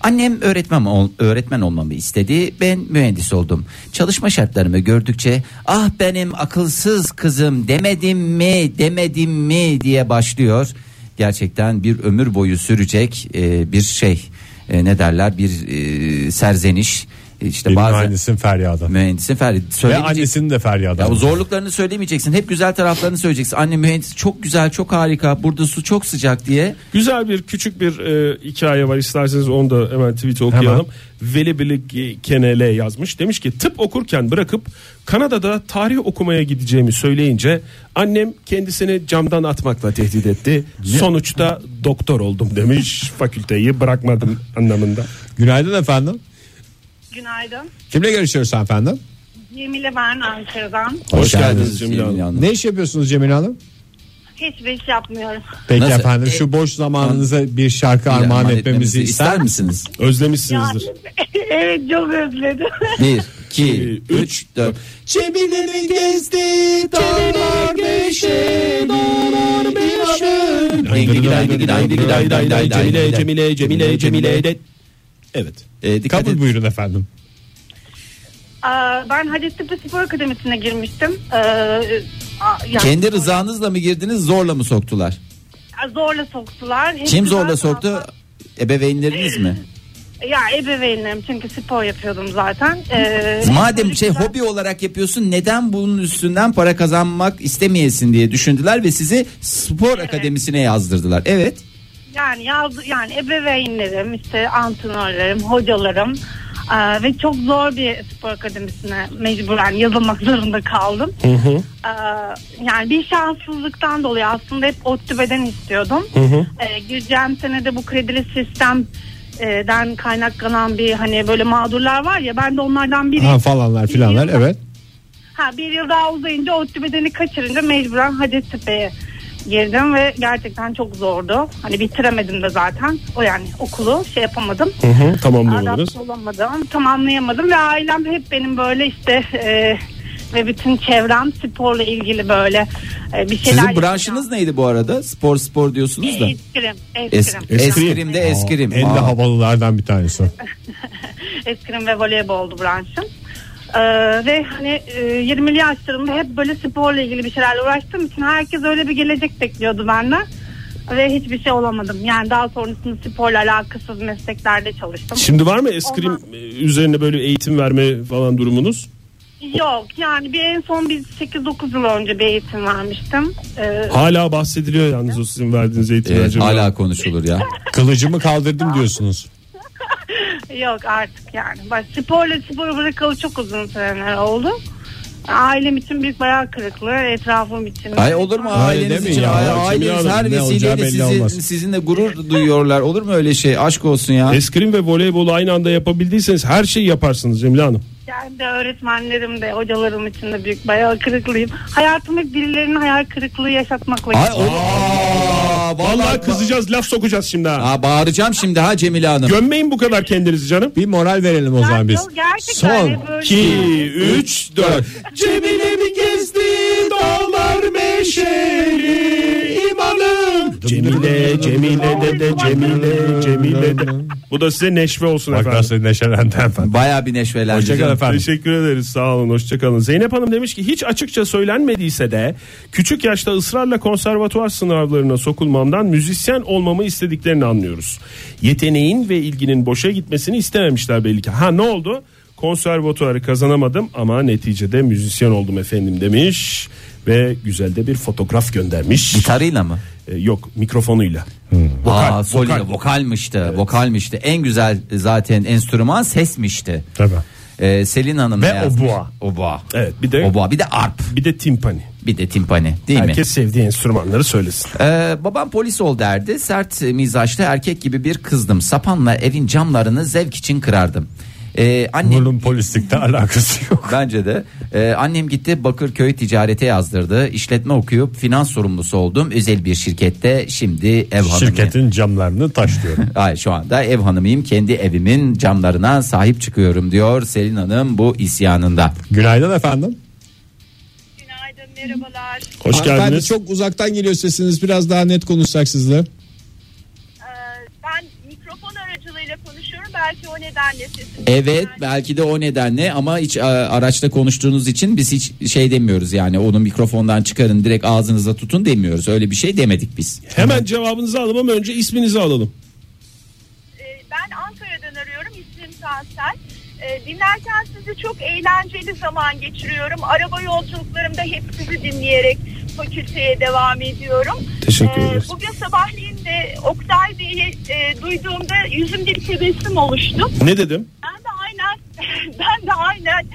C: Annem öğretmen ol- öğretmen olmamı istedi. Ben mühendis oldum. Çalışma şartlarımı gördükçe ah benim akılsız kızım demedim mi demedim mi diye başlıyor. Gerçekten bir ömür boyu sürecek e, bir şey E, ne derler bir e, serzeniş. İşte
B: Benim
C: bazen
B: mühendisim Ferya'dan.
C: mühendisin Ferdi
B: Ve
C: söylemeyecek-
B: annesinin de
C: ya bu
B: Ferya'dan.
C: zorluklarını söylemeyeceksin. Hep güzel taraflarını söyleyeceksin. Anne mühendis çok güzel, çok harika. Burada su çok sıcak diye.
D: Güzel bir küçük bir e, hikaye var isterseniz onu da hemen tweet'e okuyalım. Veli Bilik Kenele yazmış. Demiş ki tıp okurken bırakıp Kanada'da tarih okumaya gideceğimi söyleyince annem kendisini camdan atmakla tehdit etti. Sonuçta doktor oldum demiş. Fakülteyi bırakmadım anlamında.
B: Günaydın efendim.
F: Günaydın.
B: Kimle görüşüyoruz efendim?
F: Cemile ben Ankara'dan.
C: Hoş,
D: geldiniz Cemile Hanım.
B: Ne iş yapıyorsunuz Cemil Hanım?
F: Hiçbir iş yapmıyorum.
B: Peki
C: Nasıl?
B: efendim
C: E-
B: şu boş zamanınıza bir şarkı armağan etmemizi ister misiniz?
C: misiniz?
D: Özlemişsinizdir.
F: evet çok özledim.
C: 1, 2, 3, 4. Cemil'in gezdi dağlar meşe dağlar
G: Cemile Cemile Cemile Cemile de. Evet.
C: Ee, Dikkat
B: Kabul
C: edin.
B: buyurun efendim.
F: Aa, Ee, ben Hacettepe Spor Akademisi'ne girmiştim. Ee, a- yani-
C: Kendi rızanızla mı girdiniz zorla mı soktular?
F: Zorla soktular.
C: Kim
F: İktidar
C: zorla soktu?
F: taraftan-
C: Ebeveynleriniz mi?
F: Ya ebeveynlerim çünkü spor yapıyordum zaten. Ee,
C: Madem şey hobi olarak yapıyorsun neden bunun üstünden para kazanmak istemeyesin diye düşündüler ve sizi spor akademisine yazdırdılar. Evet.
F: Yani yazdı yani ebeveynlerim, işte antrenörlerim, hocalarım eee, ve çok zor bir spor akademisine mecburen yazılmak zorunda kaldım.
D: Hı hı.
F: Eee, yani bir şanssızlıktan dolayı aslında hep ODTÜ'den istiyordum.
D: Hı hı.
F: Eee, gireceğim senede bu kredili sistemden kaynaklanan bir hani böyle mağdurlar var ya ben de onlardan biriyim.
L: Ha, falanlar filanlar evet.
F: Ha bir yıl daha uzayınca ODTÜ bedeni kaçırınca mecburen Hacettepe'ye girdim ve gerçekten çok zordu. Hani bitiremedim de zaten. O yani okulu şey yapamadım.
D: Hı hı, tamamlayamadınız.
F: Adapte olamadım, tamamlayamadım ve ailem hep benim böyle işte e, ve bütün çevrem sporla ilgili böyle e, bir şeyler.
C: Sizin branşınız neydi bu arada? Spor spor diyorsunuz da.
F: Eskrim,
C: Es,
F: eskrim.
C: eskrim de eskrim.
L: Aa, En de
C: Aa.
L: havalılardan bir tanesi.
F: eskrim ve voleyboldu branşım. Ee, ve hani e, 20'li yaşlarımda hep böyle sporla ilgili bir şeylerle uğraştığım için herkes öyle bir gelecek bekliyordu benden. Ve hiçbir şey olamadım. Yani daha sonrasında sporla alakasız mesleklerde çalıştım.
D: Şimdi var mı eskrim
F: Ondan-
D: e, üzerine böyle eğitim verme falan durumunuz?
F: Yok yani bir en son bir 8-9 yıl önce bir eğitim vermiştim. Ee,
D: Hala bahsediliyor yalnız o sizin verdiğiniz eğitimler.
C: Evet, hala konuşulur ya.
L: Kılıcımı kaldırdım diyorsunuz.
F: Yok artık yani. Bak sporla sporu bırakalı çok uzun seneler oldu. Ailem için büyük bayağı kırıklığı, etrafım için.
C: Ay olur mu aileniz
L: demeyin
C: için?
L: ya.
C: Ay-
L: Ya,
C: aileniz
L: Cemile
C: her
L: Hanım, ne olacağı
C: vesileyle
L: belli
C: sizi,
L: olmaz.
C: sizinle gurur duyuyorlar. Olur mu öyle şey? Aşk olsun ya.
D: Eskrim ve voleybolu aynı anda yapabildiyseniz her şeyi yaparsınız Cemile Hanım.
F: Yani de öğretmenlerim de hocalarım için de büyük bayağı kırıklıyım. Hayatım hep birilerinin hayal kırıklığı yaşatmakla
C: Ay
F: geçti.
C: olur. Aa,
D: Vallahi kızacağız laf sokacağız şimdi ha.
C: Aa, bağıracağım şimdi ha Cemile Hanım.
D: Gömmeyin bu kadar kendinizi canım.
L: Bir moral verelim o zaman biz.
F: Yok, gerçekten
L: Son
F: hep böyle.
D: 2, 3, 4. Cemile mi gezdi dağlar meşeli imanım. Cemile, Cemile de de Cemile, Cemile de. Bu da size neşve olsun
B: Bak
D: efendim.
B: nasıl neşelendi efendim.
C: Baya bir neşvelendi.
B: Hoşçakal
C: canım.
B: efendim.
D: Teşekkür ederiz sağ olun hoşçakalın. Zeynep Hanım demiş ki hiç açıkça söylenmediyse de küçük yaşta ısrarla konservatuvar sınavlarına sokulmamdan müzisyen olmamı istediklerini anlıyoruz. Yeteneğin ve ilginin boşa gitmesini istememişler belli ki. Ha ne oldu? Konservatuvarı kazanamadım ama neticede müzisyen oldum efendim demiş. Ve güzel de bir fotoğraf göndermiş.
C: Gitarıyla mı?
D: Ee, yok mikrofonuyla.
C: Vokal,
D: Vokal, vokal.
C: vokalmişti. Vokalmişti. En güzel zaten enstrüman sesmişti.
L: Tabii.
C: Ee, Selin Hanım
D: Ve obua.
C: Obua.
D: Evet bir de
C: Obua bir de arp,
D: bir de timpani.
C: bir de timpani, değil mi?
D: Herkes sevdiği enstrümanları söylesin.
C: Ee, babam polis ol derdi. Sert mizaçlı erkek gibi bir kızdım. Sapanla evin camlarını zevk için kırardım. Ee, annem
B: Bunun polislikle alakası yok.
C: Bence de. Ee, annem gitti Bakırköy ticarete yazdırdı. İşletme okuyup finans sorumlusu oldum. Özel bir şirkette şimdi ev hanımıyım.
B: Şirketin camlarını taşlıyorum.
C: Ay, şu anda ev hanımıyım. Kendi evimin camlarına sahip çıkıyorum diyor Selin Hanım bu isyanında.
L: Günaydın efendim.
F: Günaydın, merhabalar.
D: Hoş
L: Hanımefendi,
D: geldiniz.
L: çok uzaktan geliyor sesiniz. Biraz daha net konuşsak sizle.
F: Ee, ben mikrofon aracılığıyla konuşuyorum. Belki o nedenle sesim.
C: Evet belki de o nedenle ama hiç e, araçta konuştuğunuz için biz hiç şey demiyoruz yani onu mikrofondan çıkarın direkt ağzınıza tutun demiyoruz. Öyle bir şey demedik biz.
D: Hemen cevabınızı alalım ama önce isminizi alalım.
F: Ee, Ben Ankara'dan arıyorum. İsmim Tansel. Ee, Dinlerken sizi çok eğlenceli zaman geçiriyorum. Araba yolculuklarımda hep sizi dinleyerek fakülteye devam ediyorum.
D: Teşekkür
F: Ee,
D: ederiz.
F: Bugün sabahleyin de Oktay Bey'i e, duyduğumda yüzümde bir tebessüm oluştu.
D: Ne dedim?
F: Ben de aynen ben de aynen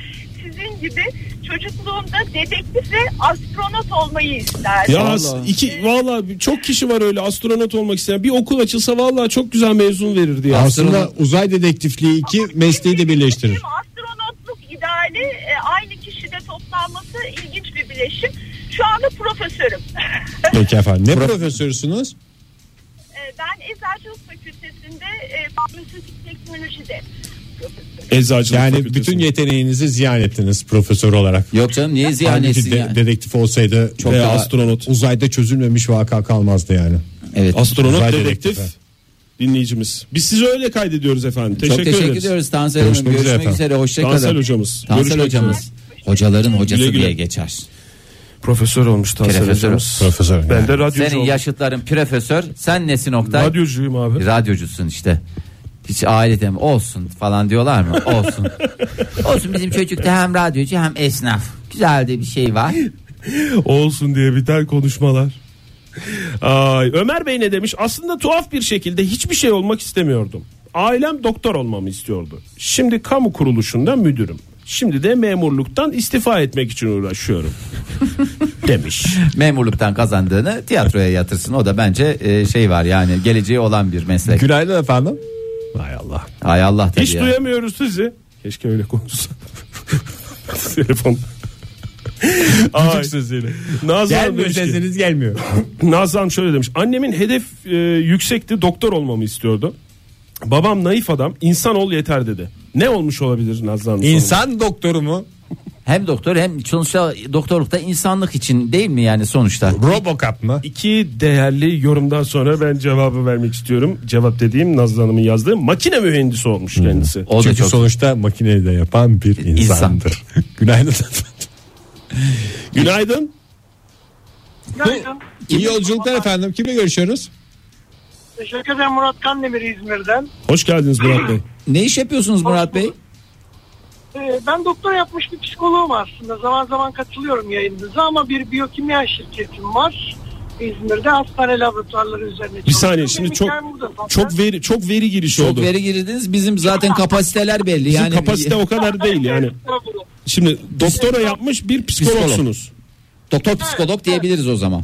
F: sizin gibi çocukluğumda dedektif ve astronot olmayı isterdim.
D: Ya as- iki vallahi bir- çok kişi var öyle astronot olmak isteyen. Bir okul açılsa vallahi çok güzel mezun verirdi ya.
L: Aslında uzay dedektifliği iki mesleği de birleştirir.
F: Bizim Astronotluk ideali e, aynı kişide toplanması ilginç bir bileşim. Şu anda profesörüm.
L: Peki efendim. Ne profesörsünüz?
F: E, ben Eczacılık Fakültesi'nde e, Farmasötik Teknoloji'de profesörüm.
D: Eczacılık
L: Yani
D: fakültesi.
L: bütün yeteneğinizi ziyan ettiniz profesör olarak.
C: Yok canım niye ziyan
L: Halbuki
C: etsin
L: de-
C: yani?
L: dedektif olsaydı
C: Çok
L: veya
C: daha-
L: astronot uzayda çözülmemiş vaka kalmazdı yani.
C: Evet.
D: astronot
L: Uzay
D: dedektif
L: dedektifi.
D: dinleyicimiz. Biz sizi öyle kaydediyoruz efendim. Teşekkür,
C: Çok teşekkür
D: ederiz.
C: ediyoruz Tansel Hanım.
L: Görüşmek
C: Görüşmek,
L: üzere efendim.
C: üzere. Hoşçakalın.
D: Tansel hocamız.
C: Tansel
D: Görüşmek
C: hocamız.
D: üzere.
C: Hocaların hocası
D: Güle güle.
C: diye geçer.
D: Profesör olmuş Tansel
C: Profesör.
D: hocamız.
L: Profesör.
D: Ben de radyocu
C: Senin
D: oldum.
C: yaşıtların profesör. Sen nesin Oktay?
D: Radyocuyum abi.
C: Radyocusun işte. Hiç ailede mi olsun falan diyorlar mı? Olsun. olsun bizim çocukta hem radyocu hem esnaf. Güzel de bir şey var.
D: Olsun diye biten konuşmalar. Ay, Ömer Bey ne demiş? Aslında tuhaf bir şekilde hiçbir şey olmak istemiyordum. Ailem doktor olmamı istiyordu. Şimdi kamu kuruluşunda müdürüm. Şimdi de memurluktan istifa etmek için uğraşıyorum. demiş.
C: Memurluktan kazandığını tiyatroya yatırsın. O da bence e, şey var yani geleceği olan bir meslek.
B: Günaydın efendim.
D: Hay Allah.
C: Hay Allah dedi
D: Hiç
C: ya.
D: duyamıyoruz sizi. Keşke öyle konuşsa. Telefon. Ay. Nazlı Hanım
B: Gelmiyor
D: demiş ki-
B: sesiniz gelmiyor.
D: Nazlı Hanım şöyle demiş. Annemin hedef e, yüksekti doktor olmamı istiyordu. Babam naif adam insan ol yeter dedi. Ne olmuş olabilir Nazlı Hanım?
B: İnsan doktoru mu?
C: Hem doktor hem sonuçta doktorlukta insanlık için değil mi yani sonuçta?
B: Robocop mı?
D: İki değerli yorumdan sonra ben cevabı vermek istiyorum. Cevap dediğim Nazlı Hanım'ın yazdığı makine mühendisi olmuş kendisi.
C: Hmm. O da
B: Çünkü
C: çok
B: sonuçta makineyi de yapan bir insandır. Günaydın efendim.
D: Günaydın.
G: Günaydın.
B: İyi yolculuklar efendim. Kimle görüşüyoruz?
G: Teşekkür ederim Murat Kandemir İzmir'den.
D: Hoş geldiniz Murat Bey.
C: Ne iş yapıyorsunuz Murat Bey?
G: Ee, ben doktor yapmış bir psikoloğum aslında. Zaman zaman katılıyorum yayınınıza ama bir biyokimya şirketim var. İzmir'de hastane laboratuvarları üzerine çalışıyorum.
D: Bir saniye şimdi
G: Benim
D: çok
G: hikayem bu da zaten.
D: çok veri çok veri girişi
C: Çok
D: oldu.
C: veri girdiniz. Bizim zaten kapasiteler belli.
D: Bizim
C: yani
D: kapasite o kadar değil yani. Şimdi doktora yapmış bir psikologsunuz.
C: doktor psikolog diyebiliriz o zaman.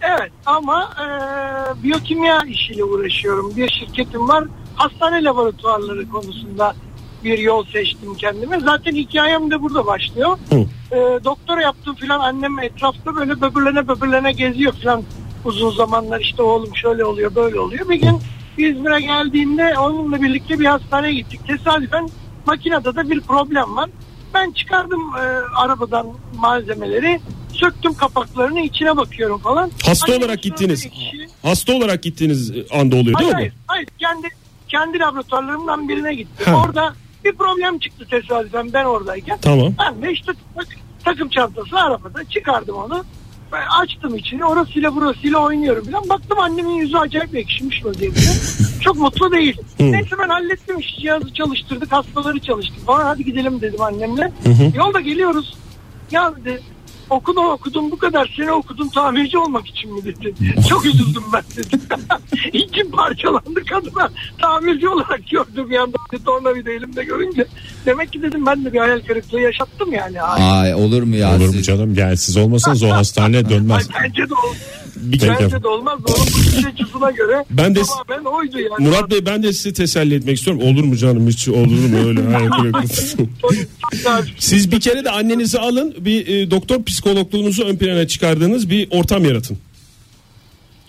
G: Evet ama e, biyokimya işiyle uğraşıyorum. Bir şirketim var. Hastane laboratuvarları konusunda bir yol seçtim kendime. Zaten hikayem de burada başlıyor.
D: Hı.
G: E, doktora yaptım filan annem etrafta böyle böbürlene böbürlene geziyor filan. Uzun zamanlar işte oğlum şöyle oluyor böyle oluyor. Bir gün İzmir'e geldiğimde onunla birlikte bir hastaneye gittik. Tesadüfen makinede de bir problem var. Ben çıkardım e, arabadan malzemeleri. Söktüm kapaklarını içine bakıyorum falan.
D: Hasta
G: Hani
D: olarak
G: şöyle
D: gittiniz.
G: ekşi-
D: Hasta olarak gittiğiniz anda oluyor
G: Hayır,
D: değil mi?
G: hayır, hayır. Kendi, kendi laboratuvarlarımdan birine gittim.
D: Ha.
G: Orada bir problem çıktı tesadüfen ben oradayken.
D: Tamam.
G: Ben de işte tak- takım çantası arabada çıkardım onu. Ben açtım içini orasıyla burasıyla oynuyorum falan. Baktım annemin yüzü acayip ekşimiş vaziyette. Çok mutlu değil. Neyse ben hallettim işi cihazı çalıştırdık hastaları çalıştık falan. Hadi gidelim dedim annemle. Yolda geliyoruz. Ya dedi okulu okudum bu kadar sene okudum tamirci olmak için mi dedi. Çok üzüldüm ben dedi. İçim parçalandı kadına tamirci olarak gördüm yani tornavida elimde görünce. Demek ki dedim ben de bir hayal kırıklığı yaşattım yani. Ay,
C: Ay olur mu ya?
B: Olur mu
C: siz-
B: canım? Yani siz olmasanız o hastaneye dönmez.
G: bence de olmaz.
B: Peki.
G: Bence de olmaz. Onun bakış açısına göre
D: Ben de-
G: ben oydu yani.
D: Murat Bey ben de sizi teselli etmek istiyorum. Olur mu canım hiç olur mu öyle? Hayır, bırakın. Siz bir kere de annenizi alın bir e, doktor psikologluğunuzu ön plana çıkardığınız bir ortam yaratın.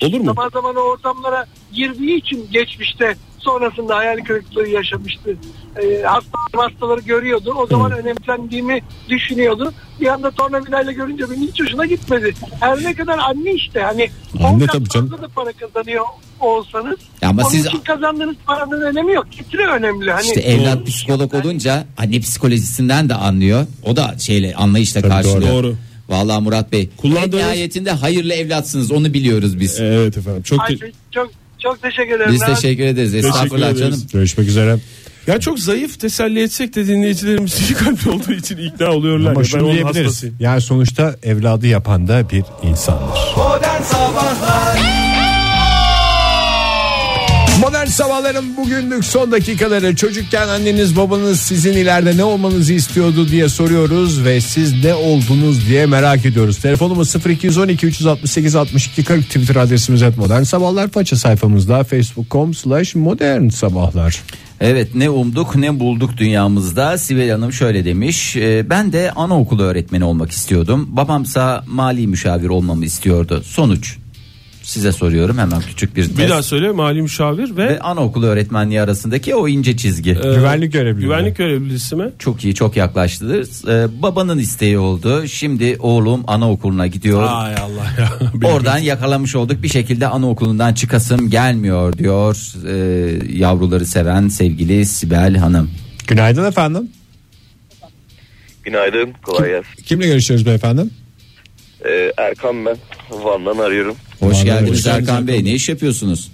D: Olur mu?
G: Zaman zaman o ortamlara girdiği için geçmişte sonrasında hayal kırıklığı yaşamıştı. Ee, hasta hastaları görüyordu. O zaman önemsendiğimi düşünüyordu. Bir anda tornavidayla görünce benim hiç hoşuna gitmedi. Her ne kadar anne işte hani on
B: Anne
G: kat
B: tabii canım.
G: fazla da para kazanıyor olsanız.
C: Ya ama
G: onun
C: siz-
G: için kazandığınız paranın önemi yok. Getiri önemli. Hani
C: İşte evlat psikolog olunca anne psikolojisinden de anlıyor. O da şeyle anlayışla karşılıyor.
D: doğru.
C: Vallahi Murat Bey.
D: Kullandığınız-
C: En nihayetinde hayırlı evlatsınız onu biliyoruz biz.
D: Evet efendim. Çok
G: Ay,
D: te-
G: çok çok teşekkür ederim.
C: Biz
G: Ben-
C: teşekkür ederiz. Estağfurullah
D: ederiz.
C: canım.
B: Görüşmek üzere.
D: ya çok zayıf teselli etsek de dinleyicilerimiz iyi kalpli olduğu için ikna oluyorlar.
B: Ama
D: ya. ben
B: şunu
D: onun
B: diyebiliriz.
D: hastasıyım.
B: Yani sonuçta evladı yapan da bir insandır. Modern Sabahların bugünlük son dakikaları çocukken anneniz babanız sizin ileride ne olmanızı istiyordu diye soruyoruz ve siz ne oldunuz diye merak ediyoruz. Telefonumuz 0212 368 62 40 Twitter adresimiz et modern sabahlar faça sayfamızda facebook.com slash modern sabahlar.
C: Evet ne umduk ne bulduk dünyamızda. Sibel Hanım şöyle demiş. "E, Ben de anaokulu öğretmeni olmak istiyordum. Babamsa mali müşavir olmamı istiyordu. Sonuç. Size soruyorum hemen küçük bir test.
D: Bir daha söyle mali müşavir ve,
C: Ve anaokulu öğretmenliği arasındaki o ince çizgi.
D: e,
B: Güvenlik görevliliği.
D: Güvenlik görevlisi mi?
C: Çok iyi çok yaklaştı. Ee, babanın isteği oldu. Şimdi oğlum anaokuluna gidiyor.
D: Ay Allah ya.
C: Oradan yakalamış olduk. Bir şekilde anaokulundan çıkasım gelmiyor diyor. Ee, yavruları seven sevgili Sibel Hanım.
B: Günaydın efendim.
J: Günaydın, kolay gelsin.
B: Kimle görüşüyoruz beyefendi?
M: E,
J: Ee, Erkan ben, Van'dan arıyorum.
C: Hoş
B: Vallahi
C: geldiniz
B: hoş geldiniz
C: Erkan Bey. Ne iş yapıyorsunuz?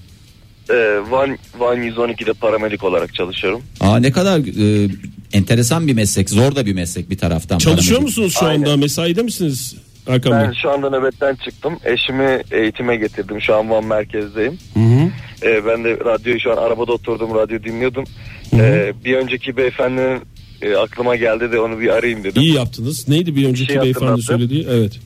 M: Ee, Van, Van 112'de paramedik olarak çalışıyorum.
C: Aa ne kadar e, enteresan bir meslek, zor da bir meslek bir taraftan.
D: Çalışıyor
C: Paramedik.
D: musunuz şu
M: Aynen.
D: anda? Mesaide misiniz? Erkan Bey.
M: Ben şu anda nöbetten çıktım. Eşimi eğitime getirdim. Şu an Van merkezdeyim. Ee, ben de radyoyu şu an arabada oturdum. Radyo dinliyordum. Ee, bir önceki beyefendinin e, aklıma geldi de onu bir arayayım dedim.
D: İyi yaptınız. Neydi bir önceki
M: şey
D: beyefendi
M: hatırlattı.
D: söylediği? Evet.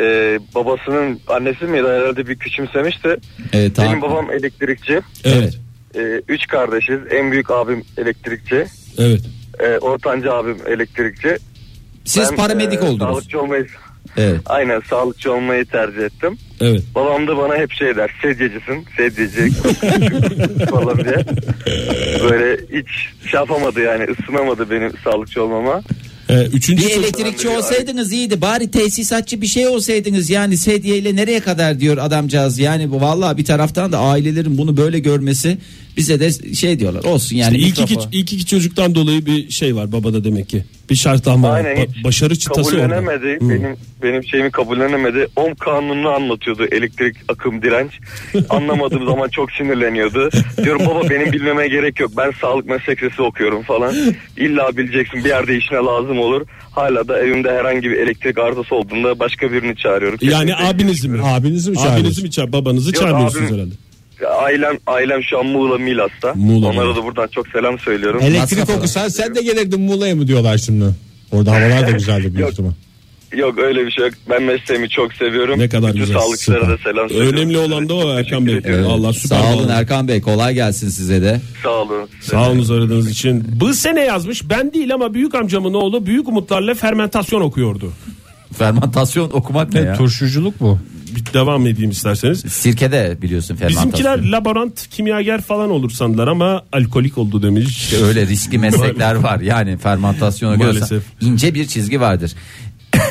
M: Ee, babasının annesi miydi? Herhalde bir küçümsemiş de.
C: Evet, tamam.
M: Benim babam elektrikçi.
D: Evet.
M: Ee, üç kardeşiz. En büyük abim elektrikçi.
D: Evet.
M: Ee, ortanca abim elektrikçi.
C: Siz
M: Ben,
C: paramedik
M: e,
C: oldunuz.
M: Sağlıkçı olmayı,
C: Evet.
M: aynen sağlıkçı olmayı tercih ettim.
D: Evet.
M: Babam da bana hep şey der. Sedyecisin, sedyeci falan diye. Böyle hiç şey yapamadı yani ısınamadı benim sağlıkçı olmama.
D: Ee, üçüncü
C: Bir
D: soru-
C: elektrikçi olsaydınız iyiydi. Bari tesisatçı bir şey olsaydınız. Yani sedyeyle nereye kadar diyor adamcağız. Yani bu vallahi bir taraftan da ailelerin bunu böyle görmesi bize de şey diyorlar. Olsun yani.
D: İlk iki,
C: mikrofon.
D: ilk iki çocuktan dolayı bir şey var babada demek ki. Bir şartlanma var.
M: Aynen,
D: Ba-
M: hiç
D: başarı çıtası orada.
M: kabullenemedi. Benim benim şeyimi kabullenemedi. Ohm kanununu anlatıyordu. Elektrik akım direnç. Anlamadığım zaman çok sinirleniyordu. Diyorum baba benim bilmeme gerek yok. Ben sağlık meslek lisesi okuyorum falan. İlla bileceksin bir yerde işine lazım olur. Hala da evimde herhangi bir elektrik arızası olduğunda başka birini çağırıyorum.
D: Yani
M: Kesinlikle.
D: abinizi mi?
B: Abinizi mi
D: Abinizi
B: çağırıyorsun?
D: mi çağır? Babanızı
M: Yok,
D: çağırmıyorsunuz
M: abim-
D: herhalde.
M: Ailem ailem şu an Muğla Milas'ta.
D: Muğla,
M: Onlara
D: Milas.
M: da buradan çok selam söylüyorum.
L: Elektrik okusan sen de gelirdin Muğla'ya mı diyorlar şimdi? Orada havalar da güzeldir büyük
M: Yok.
L: ihtimal.
M: Yok öyle bir şey yok. Ben mesleğimi çok seviyorum.
D: Ne kadar
M: Bütün
D: güzel,
M: sağlıkçılara
D: süper.
M: da selam söylüyorum.
D: Önemli olan da o Erkan Bey.
M: Teşekkür ediyorum.
D: Allah süper.
C: Sağ olun
D: bağlı.
C: Erkan Bey. Kolay gelsin size de.
M: Sağ olun.
D: Sağ olunuz aradığınız için. Bu sene yazmış. Ben değil ama büyük amcamın oğlu büyük umutlarla fermentasyon okuyordu.
C: Fermentasyon okumak ne ya?
L: Turşuculuk bu.
D: Bir devam edeyim isterseniz.
C: Sirkede biliyorsun fermentasyon.
D: Bizimkiler laborant kimyager falan olur sandılar ama alkolik oldu demiş.
C: İşte öyle riskli meslekler var. Yani fermentasyona göre
D: Maalesef.
C: ince bir çizgi vardır.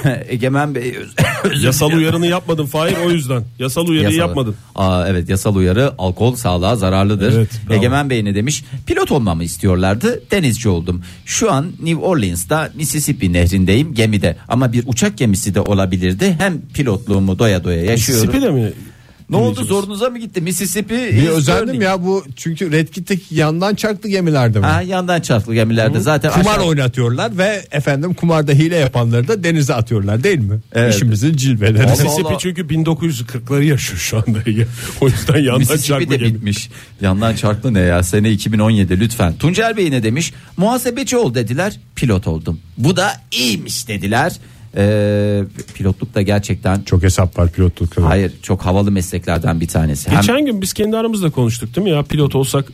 C: Egemen Bey öz- özür
D: Yasal
C: diliyorum.
D: uyarını yapmadın Fahir o yüzden. Yasal uyarıyı
C: Yasal-
D: yapmadın.
C: Aa, evet yasal uyarı alkol sağlığa zararlıdır.
D: Evet, bravo.
C: Egemen Bey ne demiş? Pilot olmamı istiyorlardı. Denizci oldum. Şu an New Orleans'ta Mississippi nehrindeyim gemide. Ama bir uçak gemisi de olabilirdi. Hem pilotluğumu doya doya yaşıyorum.
D: Mississippi de mi?
C: Ne oldu zorunuza mı gitti? Mississippi.
L: Bir
C: is
L: özendim
C: burning.
L: ya bu çünkü Red Kit'teki yandan çarklı gemilerde mi?
C: Ha, yandan çarptı gemilerde zaten.
L: Kumar
C: aşağı-
L: oynatıyorlar ve efendim kumarda hile yapanları da denize atıyorlar değil mi?
C: Evet.
L: İşimizin cilveleri.
C: Allah
D: Mississippi
C: Allah.
D: çünkü 1940'ları yaşıyor şu anda. o yüzden yandan
C: Mississippi
D: çarpma
C: de
D: gemi.
C: bitmiş. Yandan çarklı ne ya? Sene 2017 lütfen. Tuncer Bey ne demiş? Muhasebeci ol dediler. Pilot oldum. Bu da iyiymiş dediler. Ee, pilotluk da gerçekten çok
B: Çok hesap var pilotluk.
C: hayır çok havalı mesleklerden bir tanesi. Hem
D: Geçen gün biz kendi aramızda konuştuk değil mi ya? Pilot olsak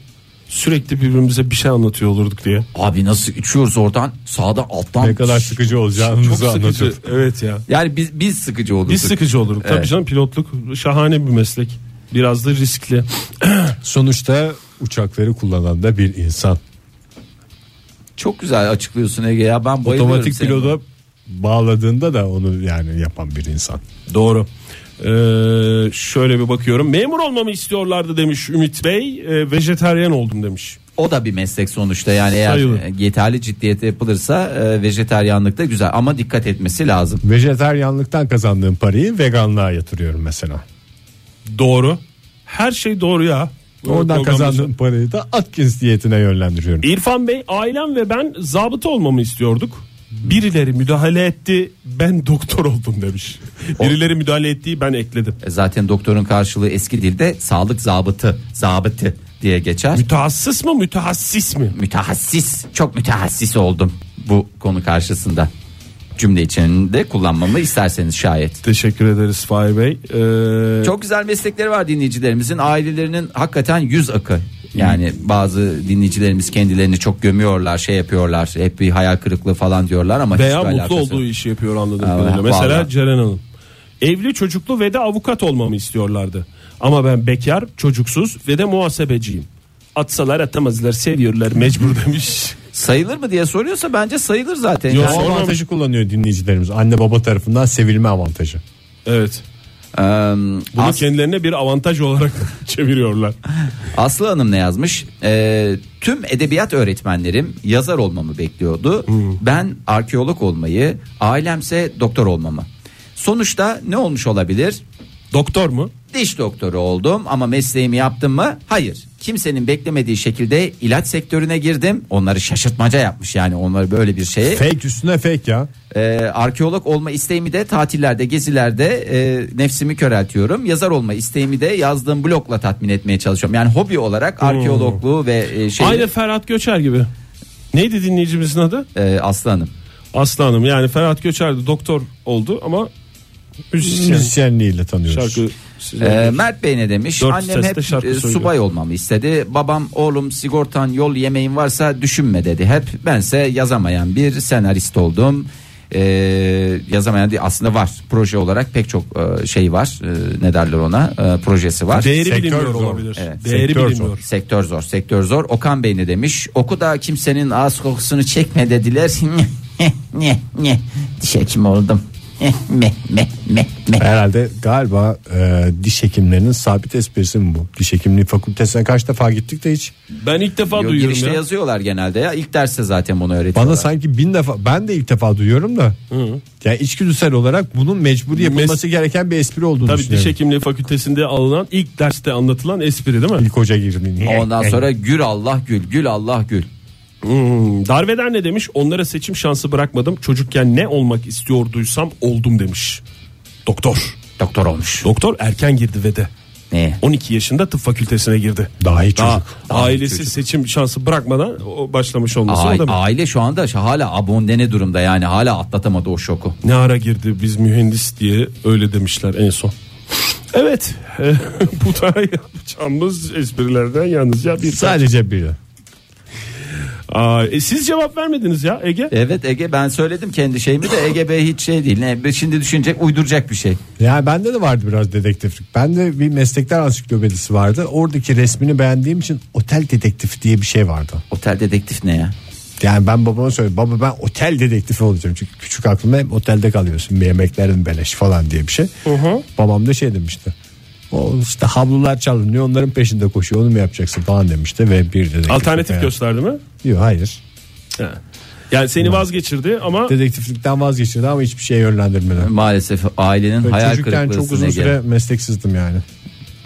D: sürekli birbirimize bir şey anlatıyor olurduk diye.
C: abi nasıl uçuyoruz oradan sağda alttan.
L: Ne kadar sıkıcı
D: Çok
L: olacağınızı
D: sıkıcı.
L: anlatıyor.
D: Evet ya.
C: Yani biz biz sıkıcı olurduk.
D: Biz sıkıcı olurduk. Tabii
C: Evet.
D: canım pilotluk şahane bir meslek. Biraz da riskli.
L: Sonuçta uçakları kullanan da bir insan.
C: Çok güzel açıklıyorsun Ege ya. Ben bayılıyorum.
L: Otomatik
C: senin.
L: pilota bağladığında da onu yani yapan bir insan.
D: Doğru. Ee, şöyle bir bakıyorum. Memur olmamı istiyorlardı demiş Ümit Bey. Ee, vejeteryan oldum demiş.
C: O da bir meslek sonuçta yani eğer
D: Sayılır.
C: yeterli ciddiyete yapılırsa e, vejeteryanlık da güzel ama dikkat etmesi lazım.
L: Vejeteryanlıktan kazandığım parayı veganlığa yatırıyorum mesela.
D: Doğru. Her şey doğru ya.
L: Oradan
D: Programda-
L: kazandığım parayı da Atkins diyetine yönlendiriyorum.
D: İrfan Bey ailem ve ben zabıta olmamı istiyorduk. Birileri müdahale etti ben doktor oldum demiş. Birileri müdahale ettiği ben ekledim.
C: E, Zaten doktorun karşılığı eski dilde sağlık zabıtı, zabıtı diye geçer.
D: Mütehassıs mı mütehassis mi?
C: mütehassis, çok mütehassis oldum bu konu karşısında. Cümle içinde kullanmamı isterseniz şayet.
D: Teşekkür ederiz Fahir Bey. Ee,
C: Çok güzel meslekleri var dinleyicilerimizin. Ailelerinin hakikaten yüz akı. Yani bazı dinleyicilerimiz kendilerini çok gömüyorlar, şey yapıyorlar. Hep bir hayal kırıklığı falan diyorlar ama
D: Veya
C: hiçbir
D: mutlu
C: alakası yok.
D: olduğu işi yapıyor anladığım
C: Evet,
D: kadarıyla. Mesela
C: vallahi.
D: Ceren Hanım. Evli çocuklu ve de avukat olmamı istiyorlardı. Ama ben bekar, çocuksuz ve de muhasebeciyim. Atsalar atamazlar seviyorlar mecbur demiş.
C: Sayılır mı diye soruyorsa bence sayılır zaten.
L: O
D: Yok.
C: Yani,
L: avantajı kullanıyor dinleyicilerimiz. Anne baba tarafından sevilme avantajı.
D: Evet.
C: Ee, eee,
D: Bunu
C: as-
D: kendilerine bir avantaj olarak çeviriyorlar.
C: Aslı Hanım ne yazmış? Ee, tüm edebiyat öğretmenlerim yazar olmamı bekliyordu. Ben arkeolog olmayı, ailemse doktor olmamı. Sonuçta ne olmuş olabilir?
D: Doktor mu?
C: Diş doktoru oldum ama mesleğimi yaptım mı? Hayır. kimsenin beklemediği şekilde ilaç sektörüne girdim. Onları şaşırtmaca yapmış yani onları böyle bir şeye.
B: Fake üstüne fake ya.
C: Ee, arkeolog olma isteğimi de tatillerde, gezilerde e, nefsimi köreltiyorum. Yazar olma isteğimi de yazdığım blogla tatmin etmeye çalışıyorum. Yani hobi olarak
D: Hmm.
C: arkeologluğu ve e, şey
D: Aynı Ferhat Göçer gibi. Neydi dinleyicimizin adı?
C: e, Aslı Hanım.
D: Aslı Hanım. Yani Ferhat Göçer de doktor oldu ama müzisyen.
B: Müzisyenliğiyle tanıyoruz.
D: Şarkı
C: Ee, Mert Bey ne demiş?
D: Dört
C: Annem
D: sesle
C: hep
D: şarkı
C: e,
D: söylüyor.
C: subay olmamı istedi. Babam oğlum sigortan yol yemeğin varsa düşünme dedi. Hep bense yazamayan bir senarist oldum. Ee, yazamayan değil aslında var proje olarak pek çok e, şey var E, ne derler ona E, projesi var.
D: Değeri
B: Sektör
D: bilinmiyor
B: zor.
D: olabilir.
C: Evet,
D: Değeri
B: sektör
D: bilinmiyor.
C: Sektör zor, sektör zor. Okan Bey ne demiş? Oku da kimsenin ağız kokusunu çekme dediler. ne ne diş hekimi oldum. me me me me.
B: Herhalde galiba e, diş hekimlerinin sabit esprisi mi bu? Diş hekimliği fakültesine kaç defa gittik de hiç.
D: Ben ilk defa
C: Yo,
D: duyuyorum
C: girişte
D: ya.
C: yazıyorlar genelde ya. İlk derste zaten bunu öğretiyorlar.
B: Bana sanki bin defa ben de ilk defa duyuyorum da. Yani içgüdüsel olarak bunun mecburi yapılması gereken bir espri olduğunu
D: Tabii diş
B: düşünüyorum.
D: hekimliği fakültesinde alınan ilk derste anlatılan espri değil mi?
B: İlk hoca girdi.
C: Ondan sonra gül Allah gül, gül Allah gül.
D: Hmm, Darveder ne demiş? Onlara seçim şansı bırakmadım. Çocukken ne olmak istiyorduysam oldum demiş. Doktor.
C: Doktor olmuş.
D: Doktor erken girdi ve de.
C: Ne?
D: 12 yaşında tıp fakültesine girdi.
B: Dahi çocuk.
D: Daha ailesi seçim şansı bırakmadan o başlamış olması o
C: Ai-
D: da mı?
C: aile şu anda şu- hala abondene durumda yani hala atlatamadı o şoku.
D: Ne ara girdi biz mühendis diye öyle demişler en son. Evet. Bu da yapacağımız esprilerden yalnızca bir.
B: Sadece biri.
D: Aa, e, siz cevap vermediniz ya Ege.
C: Evet Ege ben söyledim kendi şeyimi de Ege Bey hiç şey değil. Ne, şimdi düşünecek uyduracak bir şey.
B: Yani bende de vardı biraz dedektiflik. Bende bir meslekler ansiklopedisi vardı. Oradaki resmini beğendiğim için otel dedektifi diye bir şey vardı.
C: Otel dedektif ne ya?
B: Yani ben babama söyledim. Baba ben otel dedektifi olacağım. Çünkü küçük aklımda hep otelde kalıyorsun. Bir yemeklerin beleş falan diye bir şey. Babam da şey demişti. O işte havlular çalınıyor onların peşinde koşuyor onu mu yapacaksın falan demişti ve bir dedektif
D: Alternatif gösterdi mi?
B: Yok hayır
D: Ha. Yani seni vazgeçirdi ama
B: dedektiflikten vazgeçirdi ama hiçbir şeye yönlendirmeden
C: Maalesef ailenin
B: Ve
C: hayal
B: çocukken
C: kırıklığı
B: çok uzun
C: Ege.
B: süre mesleksizdim yani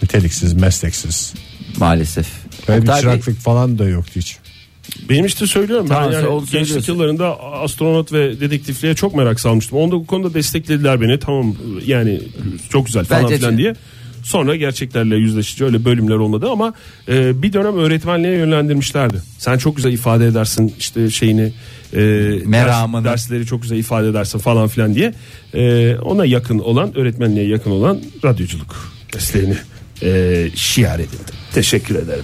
B: niteliksiz mesleksiz
C: Maalesef.
B: böyle bir
C: Oktay Bey-
B: çıraklık falan da yoktu hiç
D: Benim işte söylüyorum
C: Tamam,
D: ben
C: sen onu
D: yani gençlik
C: söylüyorsun.
D: yıllarında astronot ve dedektifliğe çok merak salmıştım. Onda bu konuda desteklediler beni. Tamam yani çok güzel falan
C: Bence
D: filan
C: de.
D: diye. Sonra gerçeklerle yüzleşici öyle bölümler olmadı ama e, bir dönem öğretmenliğe yönlendirmişlerdi. Sen çok güzel ifade edersin işte şeyini e, ders-
C: Meramını.
D: dersleri çok güzel ifade edersin falan filan diye. E, ona yakın olan öğretmenliğe yakın olan radyoculuk mesleğini e, şiar edildi. Teşekkür ederim.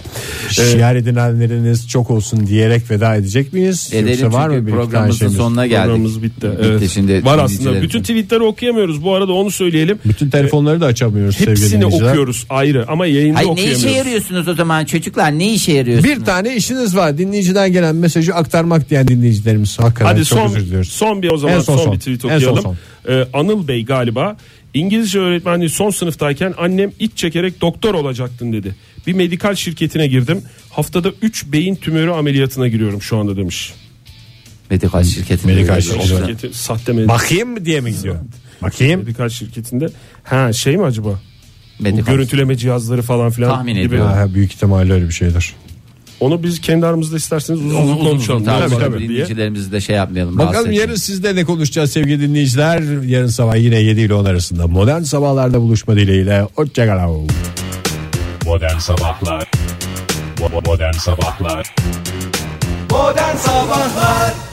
B: şiar edinenleriniz çok olsun diyerek veda edecek miyiz
C: Edelim
B: yoksa var
C: çünkü
B: mı bir iki tane
C: programımızın
B: şeyimiz
C: sonuna geldik.
D: Programımız bitti.
C: Bitti
D: Evet.
C: şimdi.
D: Var aslında.
C: dinleyicilerimiz.
D: Bütün tweetleri okuyamıyoruz. Bu arada onu söyleyelim.
B: bütün telefonları da açamıyoruz sevgili
D: Hepsini
B: dinleyiciler.
D: okuyoruz ayrı ama yayında
C: Hayır şey ne
D: okuyamıyoruz.
C: işe yarıyorsunuz o zaman çocuklar ne işe yarıyorsunuz?
B: Bir tane işiniz var. Dinleyiciden gelen mesajı aktarmak diyen dinleyicilerimiz. Hakikaten
D: Hadi
B: çok
D: son
B: özür diliyoruz.
D: son bir o zaman
B: En
D: son,
B: son son.
D: bir tweet
B: En son
D: okuyalım.
B: son.
D: Ee, Anıl Bey galiba İngilizce öğretmenliği son sınıftayken annem iç çekerek doktor olacaktın dedi. Bir medikal şirketine girdim. Haftada 3 beyin tümörü ameliyatına giriyorum şu anda demiş.
C: Medikal şirketi.
B: Medikal şirketi. Güzel.
D: Şirketi sahte medikal.
B: Bakayım mı diye mi gidiyor? Bakayım.
D: Medikal şirketinde ha şey mi acaba? Bu
C: Medikal.
D: görüntüleme cihazları falan filan
C: Tahmin
D: gibi.
C: ediyorum.
B: Ha, büyük ihtimalle öyle bir şeydir.
D: Onu biz kendi aramızda isterseniz uzun
C: Uzun
D: uzun
C: uzun
D: konuşalım.
C: tabii,
D: Tabii, tabii diye.
C: dinleyicilerimizi de şey yapmayalım.
B: Bakalım
C: rahatsız
B: yarın sizde ne konuşacağız sevgili dinleyiciler. Yarın sabah yine 7 ile 10 arasında modern sabahlarda buluşma dileğiyle. Hoşçakalın.
N: Modern Sabahlar Bo- Modern Sabahlar
G: Modern Sabahlar